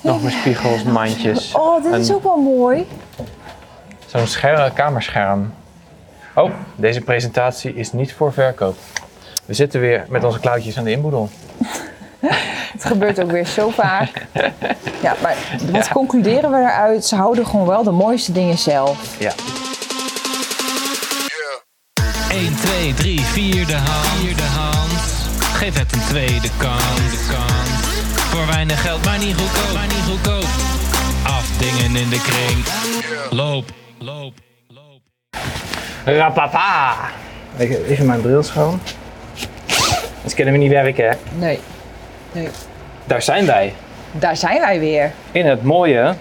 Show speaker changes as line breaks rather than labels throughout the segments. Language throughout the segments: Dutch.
Nog meer spiegels, mandjes.
Oh, dit is
een-
ook wel mooi.
Zo'n scherm, kamerscherm. Oh, deze presentatie is niet voor verkoop. We zitten weer met onze klauwtjes aan de inboedel.
Het gebeurt ook weer zo vaak. Ja, maar wat concluderen we eruit? Ze houden gewoon wel de mooiste dingen zelf.
Ja.
1, 2, 3, 4 de hand. Vierde hand. Geef het een tweede kans. De kans. Voor weinig geld, maar niet goedkoop. Maar niet goedkoop. Afdingen in de kring. Loop, loop, loop.
Rapapa! Even mijn bril schoon. Ze kunnen we niet werken, hè?
Nee. nee.
Daar zijn wij.
Daar zijn wij weer.
In het mooie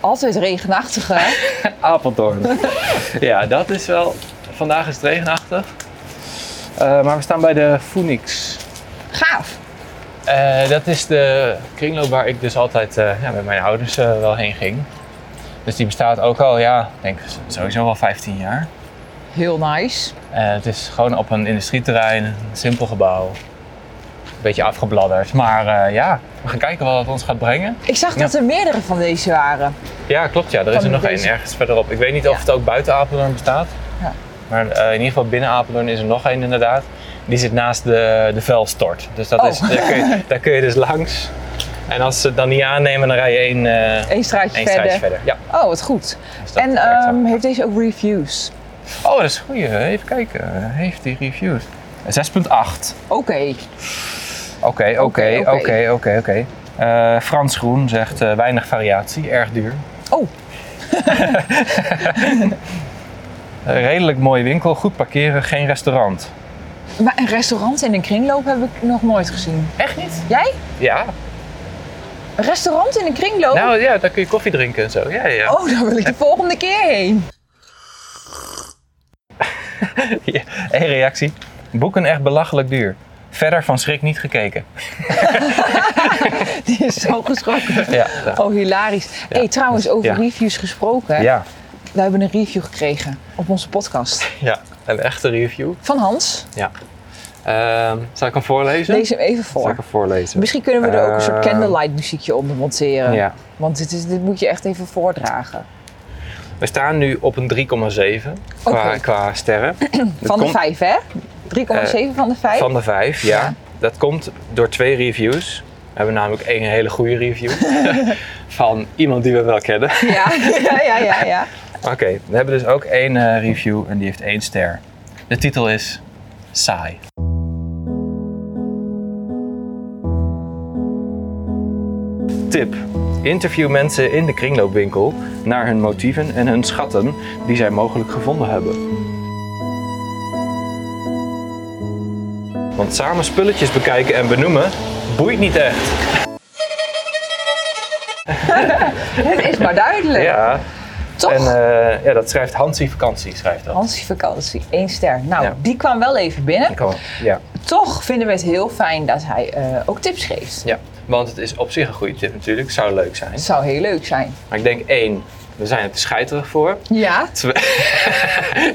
Altijd regenachtige.
Apeldoorn. ja, dat is wel... Vandaag is het regenachtig. Eh, maar we staan bij de Phoenix.
Gaaf.
Eh, dat is de kringloop waar ik dus altijd eh, ja, met mijn ouders eh, wel heen ging. Dus die bestaat ook al, ja, ik denk sowieso wel 15 jaar.
Heel nice.
Eh, het is gewoon op een industrieterrein, een simpel gebouw. Een beetje afgebladderd. Maar eh, ja, we gaan kijken wat het ons gaat brengen.
Ik zag dat er meerdere van deze waren.
Ja, klopt. Ja, er is
Van
er nog één
deze-
ergens verderop. Ik weet niet
Ja.
of het ook buiten Apeldoorn bestaat.
Ja.
Maar eh, in ieder geval binnen Apeldoorn is er nog één inderdaad. Die zit naast de, de vuilstort. Dus dat
Oh.
is, daar, kun je, daar kun je dus langs. En als ze het dan niet aannemen, dan rij je één, eh één
Eén straatje
straatje
verder.
verder. Ja,
Oh, wat goed.
dus dat
En
werkt zo.
ehm, heeft deze ook reviews?
Oh, dat is goed. Even kijken. Heeft die reviews? 6.8.
Oké.
Oké, oké,
Oké, oké.
oké, oké, oké. Eh, Frans Groen zegt eh, weinig variatie, erg duur.
Oh.
Eh, redelijk mooie winkel, goed parkeren, geen restaurant.
Maar een restaurant in een kringloop heb ik nog nooit gezien.
Echt niet?
Jij?
Ja.
Oh. Een restaurant in een kringloop?
Nou ja, daar kun je koffie drinken en zo. Ja, ja.
Oh, daar wil ik de volgende keer heen.
Ja. Eén reactie. Boeken echt belachelijk duur. Verder van schrik niet gekeken.
Die is zo geschrokken.
Ja. ja. Dus,
Oh, hilarisch. Hé, hey, trouwens, over
Ja.
reviews gesproken.
Ja,
We hebben een review gekregen op onze podcast.
ja. een echte review.
Van Hans.
Ja. Ehm, zal ik hem voorlezen?
Lees hem even
Zal ik
voor.
hem voorlezen?
Misschien eh, kunnen we er ook een soort
Eh,
candlelight muziekje onder monteren.
Ja.
Want dit, is, dit moet je echt even voordragen.
We staan nu op een 3,7 qua,
Oké.
qua sterren.
Van de
komt- Eh,
vijf, hè? 3,7 van de vijf?
Van de vijf, ja. Dat komt door twee reviews. We hebben namelijk één hele goede review van iemand die we wel kennen.
Ja, ja, ja, ja. ja.
Oké, we hebben dus ook één eh, review en die heeft één ster. De titel is Saai. Tip. Interview mensen in de kringloopwinkel naar hun motieven en hun schatten die zij mogelijk gevonden hebben. Want samen spulletjes bekijken en benoemen boeit niet echt.
Het is maar duidelijk.
Ja,
Toch?
en eh, ja, dat schrijft Hansie Vakantie. Schrijft dat.
Hans' vakantie, één ster. Nou,
Ja.
die kwam wel even binnen.
Kom, ja.
Toch vinden we het heel fijn dat hij eh, ook tips geeft.
Ja, want het is op zich een goede tip natuurlijk. Zou leuk zijn.
Het zou heel leuk zijn.
Maar ik denk één, we zijn er te scheiterig voor.
Ja.
Twee,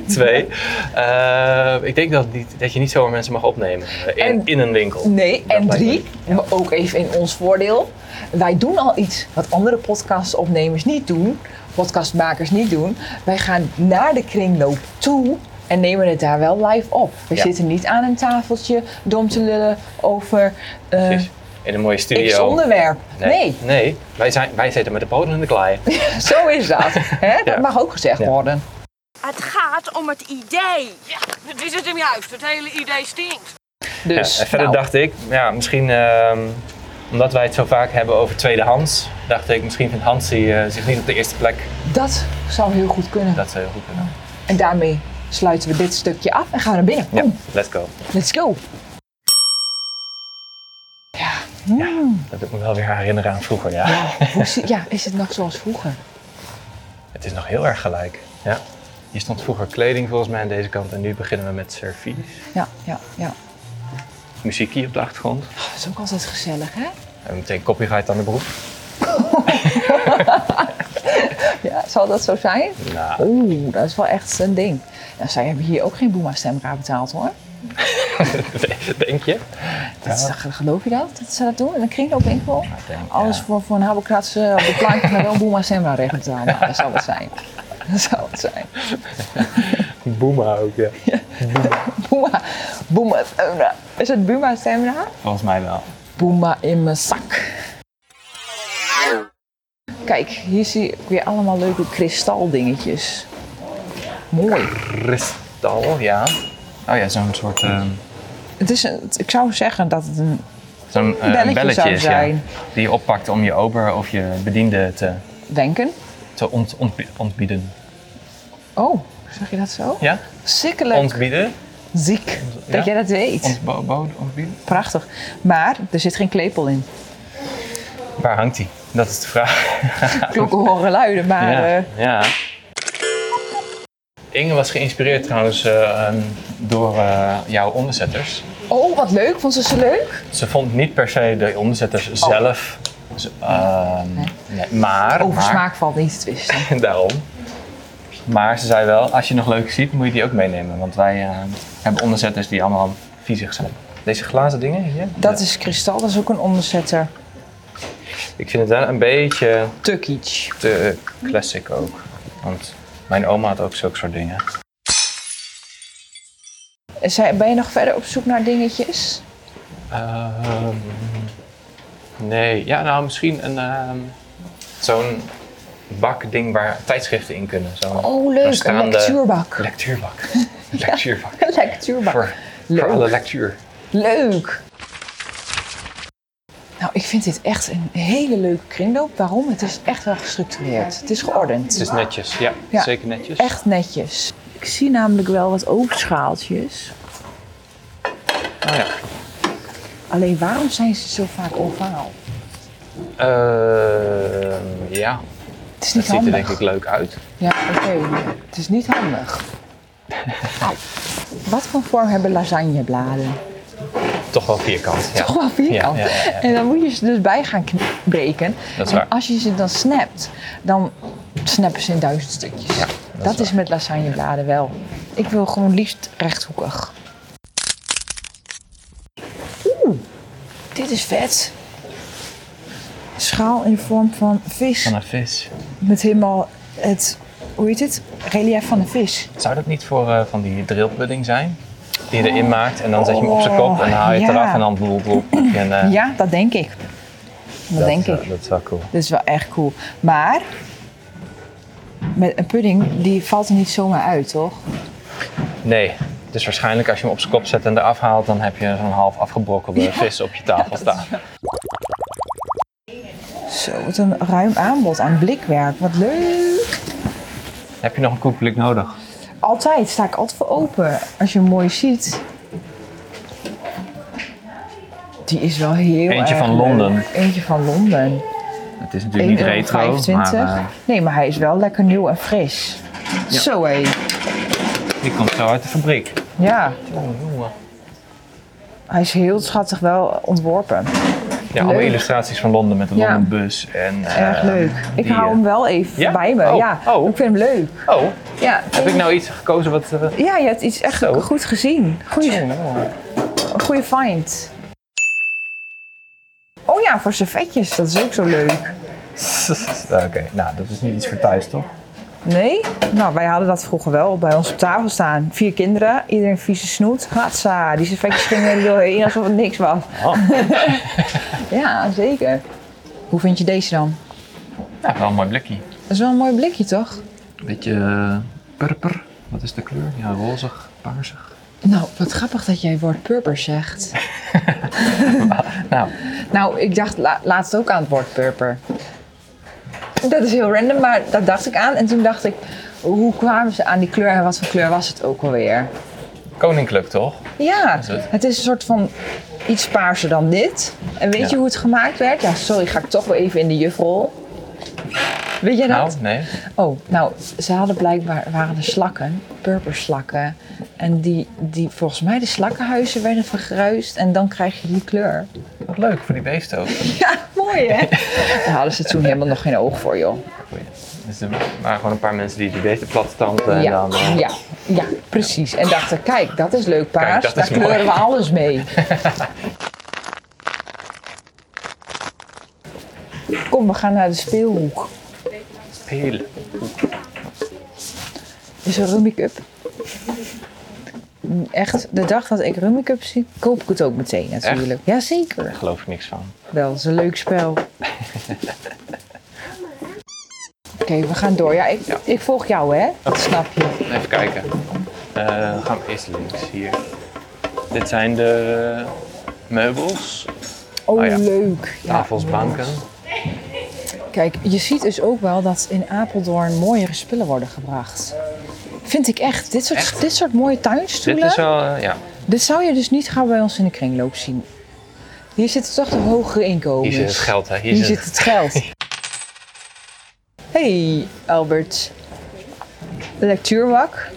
twee eh, ik denk dat, niet, dat je niet zomaar mensen mag opnemen eh, in,
En-
in een winkel.
Nee,
Dat
en
lijkt me
drie, maar ook even in ons voordeel. Wij doen al iets wat andere podcastopnemers niet doen, podcastmakers niet doen. Wij gaan naar de kringloop toe en nemen het daar wel live op. We
Ja.
zitten niet aan een tafeltje dom te lullen over eh,
Precies. In een mooie studio.
x onderwerp. Nee. Nou.
nee wij, zijn, wij zitten met de poten in de klei.
zo is dat. Hè? Dat
Ja.
mag ook gezegd
Ja.
worden.
Het gaat om het idee. Ja, dat is het hem juist. Het hele idee stinkt.
Dus,
Ja, en verder
nou,
dacht ik, ja, misschien ehm, omdat wij het zo vaak hebben over tweedehands, dacht ik misschien vindt Hansie eh, zich niet op de eerste plek.
dat zou heel goed kunnen.
Dat zou heel goed kunnen.
En daarmee sluiten we dit stukje af en gaan we naar binnen.
Ja,
Kom,
let's go.
let's go.
Dat doet me wel weer herinneren aan vroeger, ja.
Hoe zie- ja, is het nog zoals vroeger?
Het is nog heel erg gelijk. Ja. Hier stond vroeger kleding volgens mij aan deze kant en nu beginnen we met servies.
Ja, ja, ja.
Muziek hier op de achtergrond.
Dat is ook altijd gezellig, hè?
En meteen copyright aan de broek.
Ja, zal dat zo zijn?
Nou,
Oeh, dat is wel echt een ding. Nou, zij hebben hier ook geen Boema-stemra betaald, hoor.
Denk je?
Dat is, geloof je dat? Dat ze dat doen? In een kringloopwinkel?
Ik denk,
Alles
ja.
voor, voor een habbekraatse op de plaatje naar een Boema Semra regelt het allemaal. Dat zou het zijn. Dat zou het zijn.
Boema ook, ja.
Boema. Boema Semra. Is het Boema Semra?
Volgens mij wel.
Boema in mijn zak. Kijk, hier zie ik weer allemaal leuke kristaldingetjes. Mooi.
Kristal, ja. Oh ja, zo'n soort... ehm,
Het is een, ik zou zeggen dat het een
zo'n eh,
Belletje zou
is,
zijn.
ja. Die je oppakt om je ober of je bediende te,
wenken.
te ont, ontbi- ontbieden.
Oh, zeg je dat zo?
Ja?
Sikkelijk
Ontbieden?
ziek dat
Ja?
jij dat weet.
Ontbo- bo- ontbieden?
Prachtig. Maar er zit geen klepel in.
Waar hangt die? Dat is de vraag.
Klokken horen luiden, maar eh,
ja. Inge was geïnspireerd trouwens eh, ehm, door eh, jouw onderzetters.
Oh, wat leuk. Vond ze ze leuk?
Ze vond niet per se de onderzetters zelf, z- ehm, nee, maar,
Over
maar
smaak valt niet te twisten.
daarom. Maar ze zei wel, als je nog leuk ziet, moet je die ook meenemen. Want wij eh, hebben onderzetters die allemaal viezig zijn. Deze glazen dingen hier?
Dat
Ja.
is kristal, dat is ook een onderzetter.
Ik vind het wel een beetje
Tukkic.
te classic ook. Want mijn oma had ook zulke soort dingen.
Zij- Ben je nog verder op zoek naar dingetjes?
Ehm, nee, ja, nou misschien een ehm, zo'n bakding waar tijdschriften in kunnen. Zo'n
Oh, leuk.
staande-
Een lectuurbak.
Lectuurbak. lectuurbak.
Een lectuurbak.
Voor,
Leuk.
voor alle lectuur.
Leuk. Nou, ik vind dit echt een hele leuke kringloop. Waarom? Het is echt wel gestructureerd. Het is geordend.
Het is netjes, ja,
Ja.
zeker netjes.
Echt netjes. Ik zie namelijk wel wat oogschaaltjes.
Oh, ja.
Alleen waarom zijn ze zo vaak ovaal?
Ehm, ja,
Het is
dat
niet
ziet er
handig.
denk ik leuk uit.
Ja, oké. Het is niet handig. Au. Wat voor vorm hebben lasagnebladen?
Toch wel vierkant. Ja.
Toch wel vierkant.
Ja, ja, ja, ja.
En dan moet je ze dus bij gaan kn- breken.
Dat is
en
waar.
als je ze dan snapt, dan snappen ze in duizend stukjes. dat
is
is, met lasagnebladen wel. Ik wil gewoon liefst rechthoekig. Oeh, dit is vet. Schaal in de vorm van vis.
Van een vis.
Met helemaal het, hoe heet het? Relief van de vis.
Zou dat niet voor eh, van die drillpudding zijn? Die je erin maakt en dan zet je hem op zijn kop en dan haal je het
Oh, ja.
eraf en dan bloep, bloep. En, eh,
Ja, dat denk ik. Dat,
dat,
denk
eh,
ik.
Dat is wel cool.
Dit is wel echt cool. Maar met een pudding, die valt er niet zomaar uit, toch?
Nee. Dus waarschijnlijk als je hem op zijn kop zet en eraf haalt, dan heb je zo'n half afgebrokkelde vis op je tafel staan.
Zo, wat een ruim aanbod aan blikwerk. Wat leuk.
Heb je nog een koekblik nodig?
Altijd, sta ik altijd voor open. Als je hem mooi ziet. Die is wel heel
Eentje
erg
van
leuk.
Londen.
Eentje van Londen.
Het is
1,25
natuurlijk niet retro, maar eh,
Nee, maar hij is wel lekker nieuw en fris. Zo hé.
die komt zo uit de fabriek.
Ja, hij is heel schattig wel ontworpen.
Ja, alle
Leuk.
illustraties van Londen met de
Ja.
Londenbus en...
Erg
eh,
leuk. Ik
die,
hou
eh,
hem wel even
Ja?
bij me.
Oh,
Ja,
oh.
ik vind hem leuk.
Oh,
Ja,
heb ik nou iets gekozen wat... eh, Nou,
ja je hebt iets echt
Zo.
goed gezien. Goeie, goeie find. Oh ja, voor servetjes, dat is ook zo leuk.
Oké, nou dat is niet iets voor thuis toch?
Nee? Nou, wij hadden dat vroeger wel bij ons op tafel staan. Vier kinderen, iedereen vieze snoet. Hatsa, die servetjes gingen er doorheen alsof het niks was.
Oh.
ja, zeker. Hoe vind je deze dan?
Ja, wel een mooi blikje.
Dat is wel een mooi blikje, toch?
Beetje eh, purper. Wat is de kleur? Ja, rozig, paarsig.
Nou, wat grappig dat jij woord purper zegt.
Nou,
Nou, ik dacht la- laatst ook aan het woord purper. Dat is heel random, maar dat dacht ik aan. En toen dacht ik, hoe kwamen ze aan die kleur en wat voor kleur was het ook alweer?
koninklijk toch?
Ja,
het?
het is een soort van iets paarser dan dit. En weet
Ja.
je hoe het gemaakt werd? Ja, sorry, ga ik toch wel even in de jufrol. Weet jij dat?
Nou, nee.
Oh, nou, ze hadden blijkbaar, waren er slakken, purperslakken. En die, die, volgens mij de slakkenhuizen werden vergruist en dan krijg je die kleur.
Wat leuk voor die beesten ook.
Ja, mooi hè? Daar hadden ze toen helemaal nog geen oog voor, joh.
Dus er waren gewoon een paar mensen die die beesten plat tanden en
Ja,
dan... eh,
ja, Ja, precies. En dachten, kijk, dat is leuk paars.
dat
Daar
is mooi.
kleuren we alles mee. Kom, we gaan naar de speelhoek.
Heel.
is Dus een Rummy Cup. Echt, de dag dat ik Rummy Cup zie, koop ik het ook meteen natuurlijk. Jazeker.
Daar geloof ik niks van.
Wel, is een leuk spel. Oké, we gaan door. Ja ik, ik volg jou hè, dat snap je.
Even kijken. Eh, dan gaan we eerst links hier. Dit zijn de meubels,
Oh,
Oh ja.
leuk. Ja.
tafels, banken.
Kijk, je ziet dus ook wel dat in Apeldoorn mooiere spullen worden gebracht. Vind ik echt. Dit soort, Dit soort mooie tuinstoelen.
Dit is wel, eh, ja,
Dit zou je dus niet gaan bij ons in de kringloop zien. Hier zitten toch de hogere inkomens.
hier zit het geld hè.
Hier zit het geld. Hey Albert. Lectuurwak.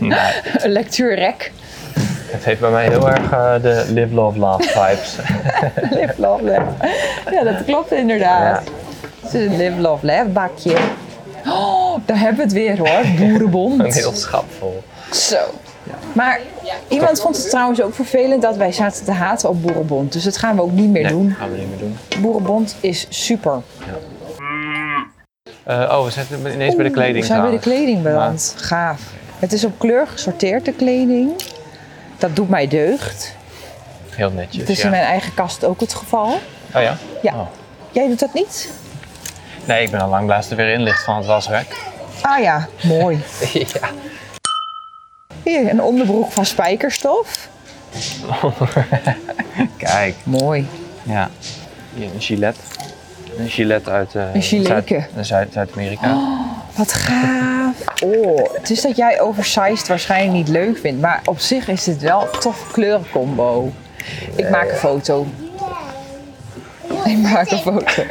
Een Lectuurrek.
Het heeft bij mij heel erg eh, de live, love, love vibes.
Live, love, laugh. Ja, dat klopt inderdaad. Het is een live, love, laugh bakje. Oh, daar hebben we het weer hoor.
Een heel
Boerenbond.
schap vol.
Zo. Maar iemand vond het trouwens ook vervelend dat wij zaten te haten op Boerenbond. Dus dat gaan we ook niet meer
Nee,
doen.
gaan we niet meer doen.
Boerenbond is super.
Eh, oh, we zitten ineens bij de kleding
We zijn bij de
trouwens.
kleding beland. Gaaf. Het is op kleur gesorteerd, de kleding. Dat doet mij deugd.
Heel netjes,
Het is
Dus ja.
in mijn eigen kast ook het geval.
Oh ja?
Ja.
Oh.
Jij doet dat niet?
Nee, ik ben al lang blaas er weer in ligt van het wasrek.
Ah ja, mooi.
ja.
Hier, een onderbroek van spijkerstof.
Kijk.
Mooi.
Ja. Hier een gilet. Een gilet uit eh,
Een Oh. gileke.
Zuid- Zuid- Zuid-Amerika.
Wat gaaf. Oh, het is dat jij oversized waarschijnlijk niet leuk vindt. Maar op zich is dit wel een toffe kleurencombo. Ik maak een foto. Ik maak een foto.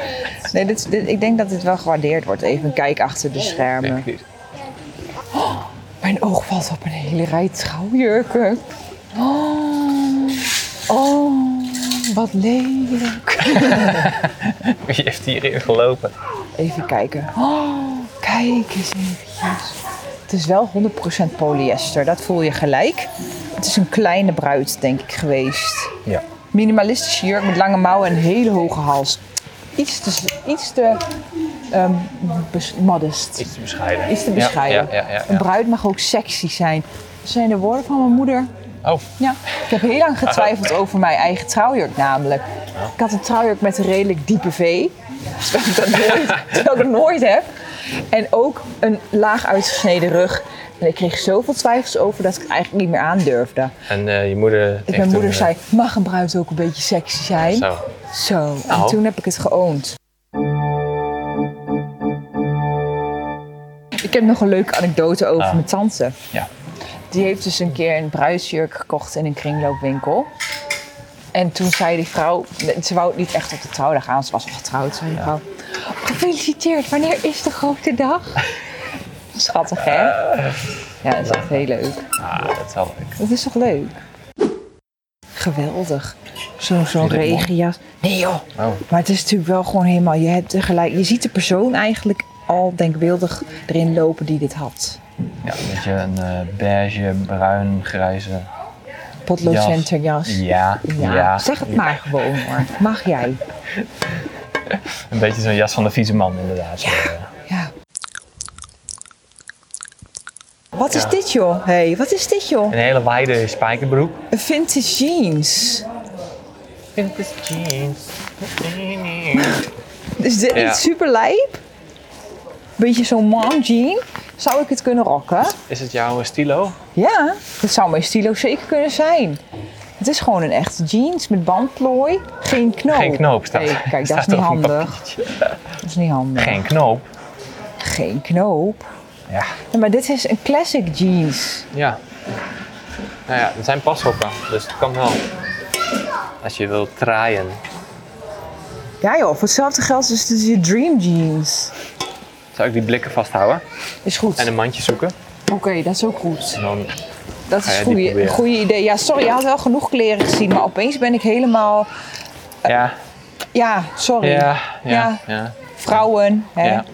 Nee, dit, dit, ik denk dat dit wel gewaardeerd wordt. Even een kijk achter de schermen.
Denk ik.
Mijn oog valt op een hele rij trouwjurken. Oh, oh wat lelijk.
Wie heeft hierin gelopen?
Even kijken. Oh, kijk eens eventjes. Het is wel 100% polyester, dat voel je gelijk. Het is een kleine bruid, denk ik, geweest.
Ja.
Minimalistische jurk met lange mouwen en een hele hoge hals. Iets te, iets te ehm, bes- modest.
Iets te bescheiden.
Iets te
Ja,
bescheiden.
Ja, ja, ja,
Een
ja.
bruid mag ook sexy zijn. Dat zijn de woorden van mijn moeder.
Oh,
Ja, ik heb heel lang getwijfeld over mijn eigen trouwjurk namelijk. Ik had een trouwjurk met een redelijk diepe V. Terwijl ik dat nooit, terwijl ik dat nooit heb. En ook een laag uitgesneden rug. En ik kreeg zoveel twijfels over dat ik het eigenlijk niet meer aandurfde.
en eh, je moeder... heeft
Ik, mijn
toen,
moeder
eh,
zei, mag een bruid ook een beetje sexy zijn?
Zo.
Zo, en
Nou.
toen heb ik het geoond. Ik heb nog een leuke anekdote over
Ah.
mijn tante.
Ja.
Die heeft dus een keer een bruidsjurk gekocht in een kringloopwinkel. En toen zei die vrouw, ze wou het niet echt op de trouwdag aan, ze was al getrouwd, zei die vrouw. Gefeliciteerd, wanneer is de grote dag? Schattig hè? Ja, dat is echt heel leuk.
Ah, dat is wel leuk.
Dat is toch leuk? Geweldig. Zo- Zo'n
Vind je dit mooi?
regenjas. Nee joh.
Oh.
Maar het is natuurlijk wel gewoon helemaal, je, hebt er gelijk, je ziet de persoon eigenlijk al denkbeeldig erin lopen die dit had.
Ja, een beetje een eh, beige, bruin, grijze...
Potloodcenterjas.
Ja, ja.
Ja, zeg het maar gewoon hoor. Mag jij?
Een beetje zo'n jas van de vieze man inderdaad. Eh,
Ja. Wat is dit joh? Hé, hey, wat is dit joh?
Een hele wijde spijkerbroek.
Een vintage jeans.
Vintage jeans.
Is dit
Ja.
niet super lijp? Beetje zo'n mom jean. Zou ik het kunnen rocken?
Is het jouw stilo?
Ja, dat zou mijn stilo zeker kunnen zijn. Het is gewoon een echte jeans met bandplooi. Geen knoop.
Geen knoop staat.
Nee, kijk, dat is
staat
niet
op een
handig.
papiertje.
Dat is niet handig.
Geen knoop.
Geen knoop.
Ja.
Ja, maar dit is een classic jeans.
Ja. Nou ja, het zijn pashokken, dus het kan wel. Als je wilt traaien.
Ja joh, voor hetzelfde geld is dit je dream jeans.
Zou ik die blikken vasthouden
Is goed.
en een mandje zoeken?
Oké, dat is ook goed.
En dan,
Dat
Ga jij
is
die
goeie- een
proberen?
goede idee. Ja, sorry, je had wel genoeg kleren gezien, maar opeens ben ik helemaal...
ja,
Ja, sorry.
ja, ja,
Ja.
ja,
Vrouwen, hè.
ja.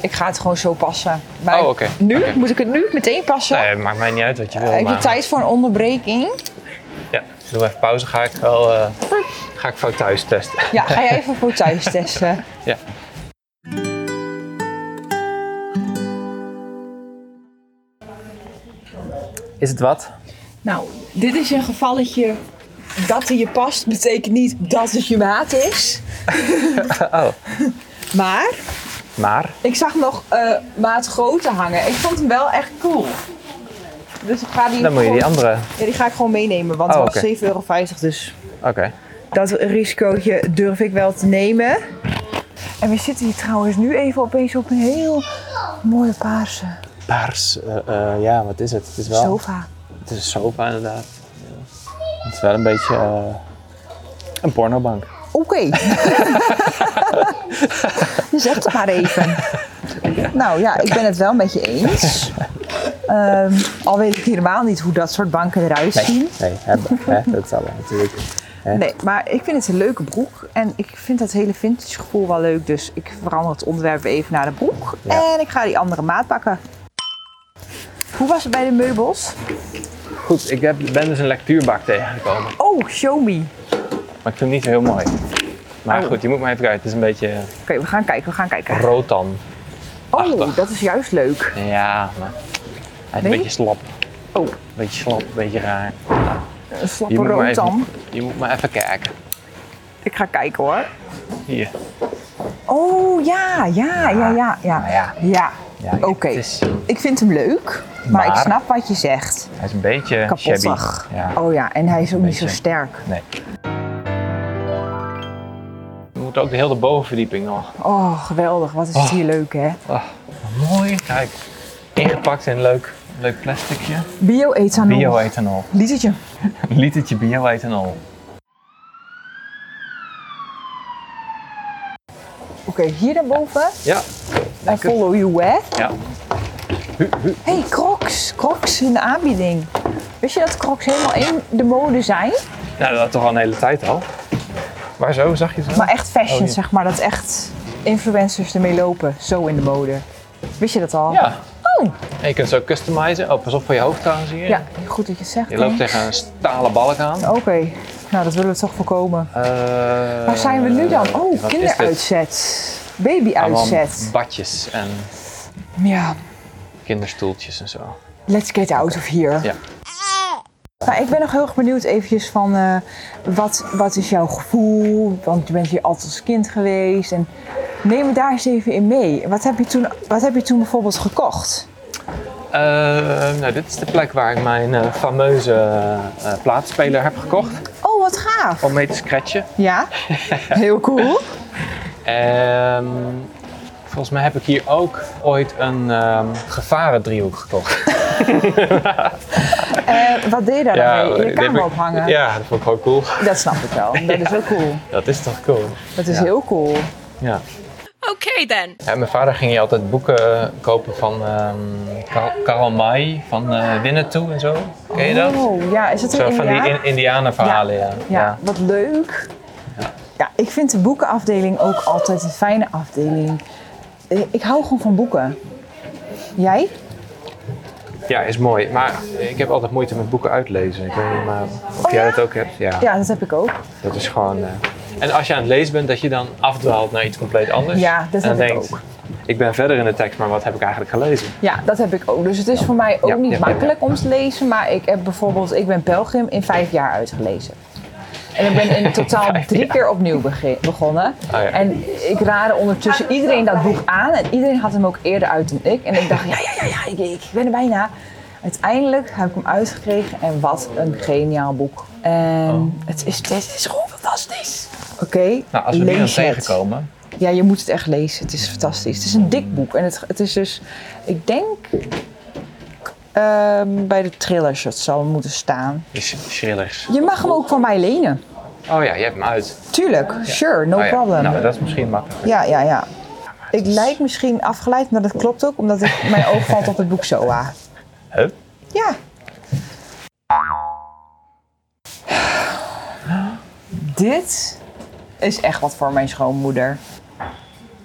Ik ga het gewoon zo passen. Maar
Oh, oké.
nu?
Oké.
Moet ik het nu meteen passen?
Nee, Nou het maakt mij niet uit wat je wil.
Heb je
maar-
tijd voor een onderbreking?
Ja, ik doe even pauze. Ga ik wel. eh, ga ik voor thuis testen.
Ja, ga je even voor thuis testen.
Ja. Is het wat?
Nou, dit is een gevalletje. Dat hij je past betekent niet dat het je maat is.
Oh.
Maar
Maar?
ik zag nog eh maat grote hangen. Ik vond hem wel echt cool. Dus ik ga die,
Dan moet je die
gewoon-
andere.
ja, die ga ik gewoon meenemen, want
Oh,
het
oké.
was 7,50 euro. Dus
Oké.
dat risicootje durf ik wel te nemen. En we zitten hier trouwens nu even opeens op een heel mooie paarse
Paars. eh, eh, ja, wat is het? Het is wel.
sofa.
Het is een sofa inderdaad. Ja. Het is wel een beetje. eh, een pornobank.
Oké. je zegt het maar even. Nou ja, ik ben het wel met je eens. Ehm, al weet ik helemaal niet hoe dat soort banken eruit zien.
Nee, hebben. Hè? Dat zal wel natuurlijk.
Nee, maar ik vind het een leuke broek. En ik vind dat hele vintage gevoel wel leuk. Dus ik verander het onderwerp even naar de broek.
Ja.
En ik ga die andere maat pakken. Hoe was het bij de meubels?
Goed, ik heb, ben dus een lectuurbak tegengekomen.
Oh, show me. Oké,
Maar ik vind hem niet zo heel mooi. Maar goed, je moet maar even kijken. Het is een beetje
we gaan kijken, we gaan kijken.
rotan.
Oh, dat is juist leuk.
Ja, maar hij is
Nee?
een beetje slap.
Oh.
Een beetje slap, een beetje raar.
Een slappe
Je moet, maar even,
rotan.
je moet maar even kijken.
Ik ga kijken hoor.
Hier.
Oh ja, ja, ja, ja, ja.
nou ja. Ja,
Oké.
het is-
Ik vind hem leuk, maar, ik
Maar-
snap wat je zegt.
Hij is een beetje
Kapottig.
shabby. Ja.
Oh ja, en hij is ook niet zo
Beetje.
sterk.
Nee. We moeten ook de hele bovenverdieping nog.
Oh, geweldig. Wat is het
Oh.
hier leuk, hè?
Ah, mooi. Kijk, ingepakt in leuk, leuk plasticje.
Bio-ethanol.
Bioethanol.
Litertje.
Een litertje bioethanol.
Oké, hier naar boven.
Ja.
I
Lekker.
follow you, hè?
Ja. Hu, hu.
hey, Crocs. Crocs in de aanbieding. Wist je dat Crocs helemaal in de mode zijn?
Nou, dat toch al een hele tijd al. Maar zo zag je het wel?
Maar echt fashion,
Oh, ja.
zeg maar. Dat echt influencers ermee lopen. Zo in de mode. Wist je dat al?
Ja.
Oh.
En je kunt ze ook customizen. Oh, pas op voor je hoofd trouwens hier.
Ja, goed dat je het zegt.
Je loopt
hè?
tegen een stalen balk aan.
Oké, nou dat willen we toch voorkomen.
Eh,
Waar zijn we nu dan?
wat is
Oh,
dit?
kinderuitzet.
Allemaal
Babyuitzet.
badjes en
Ja,
kinderstoeltjes en zo.
let's get out of here.
Ja.
Nou, ik ben nog heel erg benieuwd eventjes van eh, wat, wat is jouw gevoel? Want je bent hier altijd als kind geweest. En neem me daar eens even in mee. Wat heb je toen, wat heb je toen bijvoorbeeld gekocht?
Eh, nou, dit is de plek waar ik mijn eh, fameuze eh plaatspeler heb gekocht.
Oh, wat gaaf.
Om mee te scratchen.
Ja, heel cool.
Ehm, volgens mij heb ik hier ook ooit een ehm gevarendriehoek gekocht.
Eh, wat deed je daar dan mee?
die
Je
heb
kamer
ik-
ophangen?
Ja, dat vond ik gewoon cool.
Dat snap ik wel. Dat is wel cool.
Dat is toch cool?
Dat is
Ja.
heel cool.
Ja.
Okay then.
Ja, mijn vader ging hier altijd boeken kopen van ehm Kar- Karl May, van eh Winnetou en zo. Ken je dat?
Oh, ja, is het een
Zo van die
Indiaan?
in indianenverhalen, ja.
Ja, wat leuk. Ja, ik vind de boekenafdeling ook altijd een fijne afdeling. Eh, Ik hou gewoon van boeken. Jij?
Ja, is mooi. Maar ik heb altijd moeite met boeken uitlezen. Ik weet niet maar of jij
Oh ja?
dat ook hebt. Ja,
Ja, dat heb ik ook.
dat is gewoon... eh, En als je aan het lezen bent, dat je dan afdwaalt naar iets compleet anders.
Ja, dat
en dan
heb ik
denkt,
ook.
ik ben verder in de tekst, maar wat heb ik eigenlijk gelezen?
Ja, dat heb ik ook. Dus het is voor mij ook
Ja,
niet
ja, ja, ja.
makkelijk om te lezen. Maar ik heb bijvoorbeeld, ik ben Pelgrim in vijf jaar uitgelezen. En ik ben in totaal drie keer opnieuw bege- begonnen.
Ah, ja.
En ik raadde ondertussen iedereen dat boek aan. En iedereen had hem ook eerder uit dan ik. En ik dacht, ja, ja, ja, ja, ik, ik ben er bijna. Uiteindelijk heb ik hem uitgekregen. En wat een geniaal boek. En het, is, het is gewoon fantastisch. Oké,
Oh. Nou, als we die dan
lees het.
tegenkomen...
Ja, je moet het echt lezen. Het is fantastisch. Het is een dik boek. En het, het is dus, ik denk, ehm, bij de thrillers het zal moeten staan.
Is thrillers.
Je mag hem ook van mij lenen.
Oh ja, je hebt hem uit.
Tuurlijk, sure, no
Oh ja.
problem.
Nou, dat is misschien makkelijk.
Ja, ja, ja. Ik lijk misschien afgeleid, maar dat klopt ook, omdat ik, mijn oog valt op het boek Zoa.
Hup.
Ja. Dit is echt wat voor mijn schoonmoeder.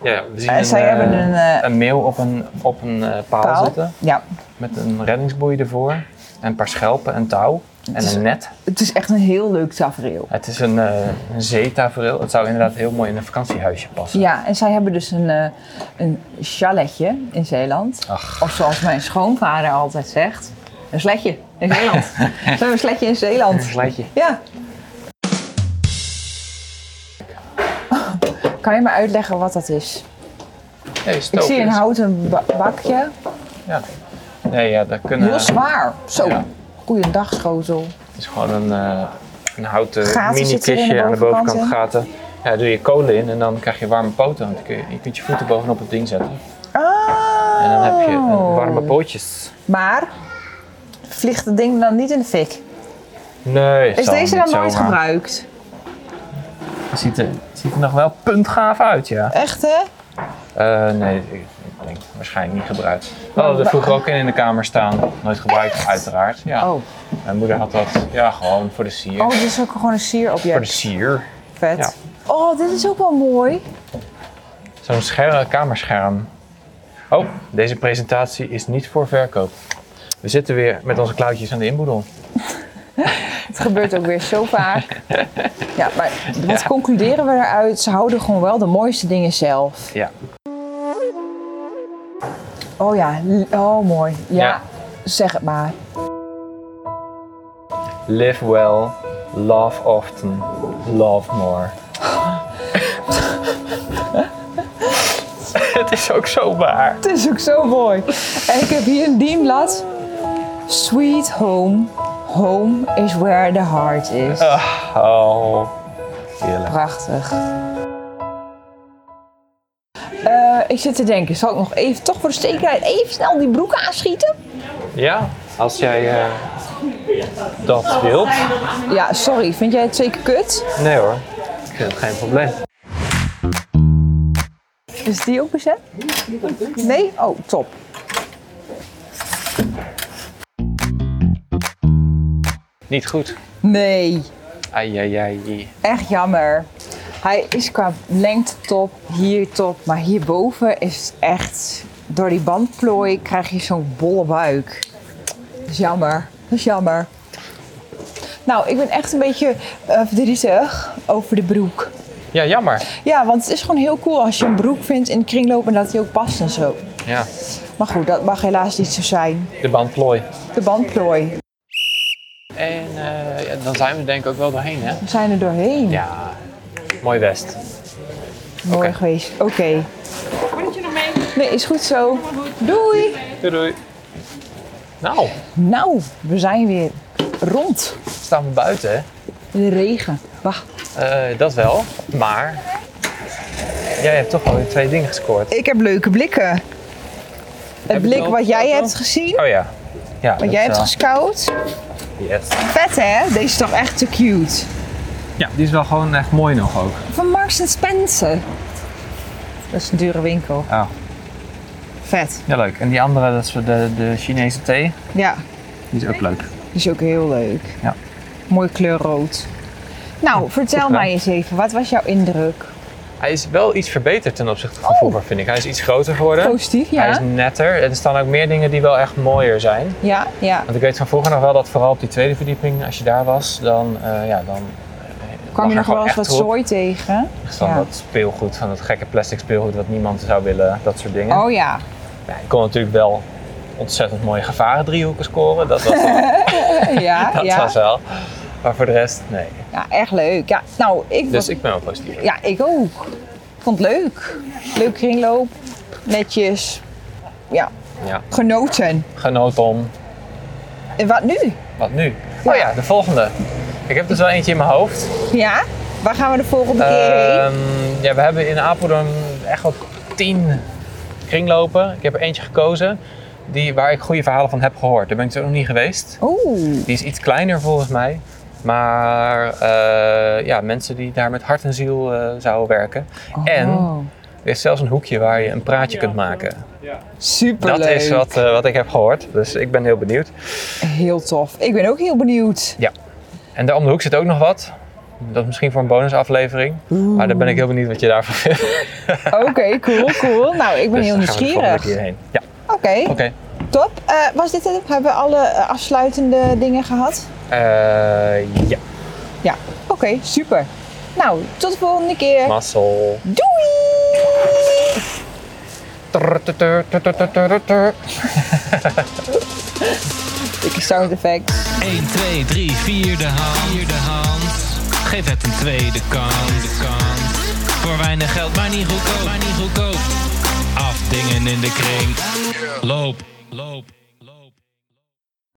Ja, we zien
Eh,
een,
zij
eh,
hebben een, eh,
een meeuw op een, op een eh, paal,
Paal.
zitten.
Ja,
Met een reddingsboei ervoor. En een paar schelpen en touw. En
is-
een net.
het is echt een heel leuk tafereel.
Het is een, eh een zeetafereel. Het zou inderdaad heel mooi in een vakantiehuisje passen.
Ja, en zij hebben dus een, eh, een chaletje in Zeeland.
Ach.
Of zoals mijn schoonvader altijd zegt, een sletje in Zeeland. Ze hebben een sletje in Zeeland.
Een slijtje.
Ja. Kan je me uitleggen wat dat is?
Nee,
Ik
stoop
zie een
is-
houten ba- bakje.
Ja. Nee, ja, dat kunnen...
Heel zwaar. Zo.
ja.
Goeiedag, schotel.
Het is gewoon een, eh, een houten
Gaten zitten er in de
mini-kistje aan de
bovenkant
bovenkant
in.
gaten. Ja, daar doe je kolen in en dan krijg je warme poten. Want dan kun je, je kunt je voeten bovenop het ding zetten.
Oh.
En dan heb je eh, warme pootjes.
Maar vliegt het ding dan niet in de fik?
Nee,
Is
zal
deze
niet
dan nooit
zomaar.
gebruikt?
Het ziet er, het ziet er nog wel puntgaaf uit, ja.
Echt hè?
Eh, nee, ik, ik denk waarschijnlijk niet gebruikt. We hadden er vroeger ook een in de kamer staan. Nooit gebruikt, uiteraard. Ja.
Oh.
Mijn moeder had dat ja, gewoon voor de sier.
Oh, dit is ook gewoon
Voor
een
de
sierobject.
sier.
Vet.
Ja.
Oh, dit is ook wel mooi.
Zo'n scherm, eh, kamerscherm. Oh, deze presentatie is niet voor verkoop. We zitten weer met onze klauwtjes aan de inboedel.
Het gebeurt ook weer zo vaak. Ja, maar wat concluderen we eruit? Ze houden gewoon wel de mooiste dingen zelf.
Ja.
Oh ja, l- oh mooi. Ja,
Ja.
zeg het maar.
Live well, love often, love more. Het is ook zo waar.
Het is ook zo mooi. En ik heb hier een dienblad. Sweet home. Home is where the heart is.
Ah. Oh, heerlijk.
Prachtig. Eh, ik zit te denken, zal ik nog even, toch voor de zekerheid, even snel die broek aanschieten?
Ja, als jij eh, dat wilt.
Ja, sorry, vind jij het zeker kut?
Nee hoor, ik vind het geen probleem.
Is die ook bezet? Nee? Oh, top.
Niet goed.
Nee,
Ai, ai, ai.
echt jammer. Hij is qua lengte top, hier top, maar hierboven is het echt... Door die bandplooi krijg je zo'n bolle buik. Dat is jammer, dat is jammer. Nou, ik ben echt een beetje eh, verdrietig over de broek.
Ja, jammer.
Ja, want het is gewoon heel cool als je een broek vindt in de kringloop en dat die ook past en zo.
Ja,
Maar goed, dat mag helaas niet zo zijn.
de band plooi.
De bandplooi.
En eh, ja, dan zijn we denk ik ook wel doorheen, hè?
We zijn er doorheen.
Ja, mooi West.
Mooi
oké.
geweest. Oké.
Moet je nog mee?
Nee, is goed zo. Doei.
Doei, doei. Nou,
Nou, we zijn weer rond.
staan we buiten, hè?
De regen. Wacht.
Eh, dat wel, maar jij hebt toch wel weer twee dingen gescoord.
Ik heb leuke blikken. Het
je
blik
al
wat jij
foto?
hebt gezien.
Oh ja. ja
Wat
dat
jij hebt
wel.
gescout.
Yes.
Vet hè? Deze is toch echt te cute.
Ja, die is wel gewoon echt mooi nog ook.
Van Marks Spencer. Dat is een dure winkel.
Oh.
Vet.
Ja, leuk. En die andere, dat is de, de Chinese thee.
Ja.
Die is ook leuk.
Die is ook heel leuk.
Ja.
Mooi kleur rood. Nou, vertel
gedaan.
mij eens even, wat was jouw indruk?
Hij is wel iets verbeterd ten opzichte
Oh.
van vroeger, vind ik. Hij is iets groter geworden.
Positief,
Hij is
ja.
netter. Er staan ook meer dingen die wel echt mooier zijn.
Ja, ja.
Want ik weet van vroeger nog wel dat vooral op die tweede verdieping, als je daar was, dan... eh, ja, dan eh, lag
Kwam je
er
nog wel
gewoon
eens
echt
wat
troep.
zooi tegen?
Van
Ja.
dat speelgoed, van dat gekke plastic speelgoed wat niemand zou willen, dat soort dingen.
Oh ja.
Ja, ik kon natuurlijk wel ontzettend mooie gevarendriehoeken scoren, dat was,
Ja,
dat
ja.
was wel. Maar voor de rest, nee.
ja echt leuk. Ja, nou, ik,
Dus
was,
ik ben wel positief.
ja, ik ook. Ik vond het leuk. Leuk kringloop. Netjes. Ja,
Ja.
genoten.
Genoot om.
En wat nu?
Wat nu? Oh ja, de volgende. Ik heb dus wel eentje in mijn hoofd.
Ja? Waar gaan we de volgende keer heen?
Ehm, ja, we hebben in Apeldoorn echt wel tien kringlopen. Ik heb er eentje gekozen die, waar ik goede verhalen van heb gehoord. Daar ben ik dus ook nog niet geweest.
Oeh.
Die is iets kleiner volgens mij. Maar eh, ja, mensen die daar met hart en ziel eh, zouden werken. En
Oh,
er is zelfs een hoekje waar je een praatje kunt maken.
Superleuk.
Dat is wat, eh, wat ik heb gehoord. Dus ik ben heel benieuwd.
Heel tof. Ik ben ook heel benieuwd.
En daar om de hoek zit ook nog wat. Dat is misschien voor een bonusaflevering. Maar dan ben ik heel benieuwd wat je daarvan vindt.
Oké, cool, cool. Nou, ik ben
Dus
heel
dan gaan we de volgende
nieuwsgierig.
keer
Oké,
heen. Ja, oké.
top. Eh, was dit het? Hebben we alle eh, afsluitende dingen gehad?
Eh, ja,
Ja, oké, super. Nou, tot de volgende keer.
mazzel.
Doei! Dikke sound effects.
1, 2, 3, 4 de hand. Vierde hand. Geef het een tweede kans. De kans. Voor weinig geld, maar niet goedkoop. Maar niet goedkoop. Afdingen in de kring. Loop, loop.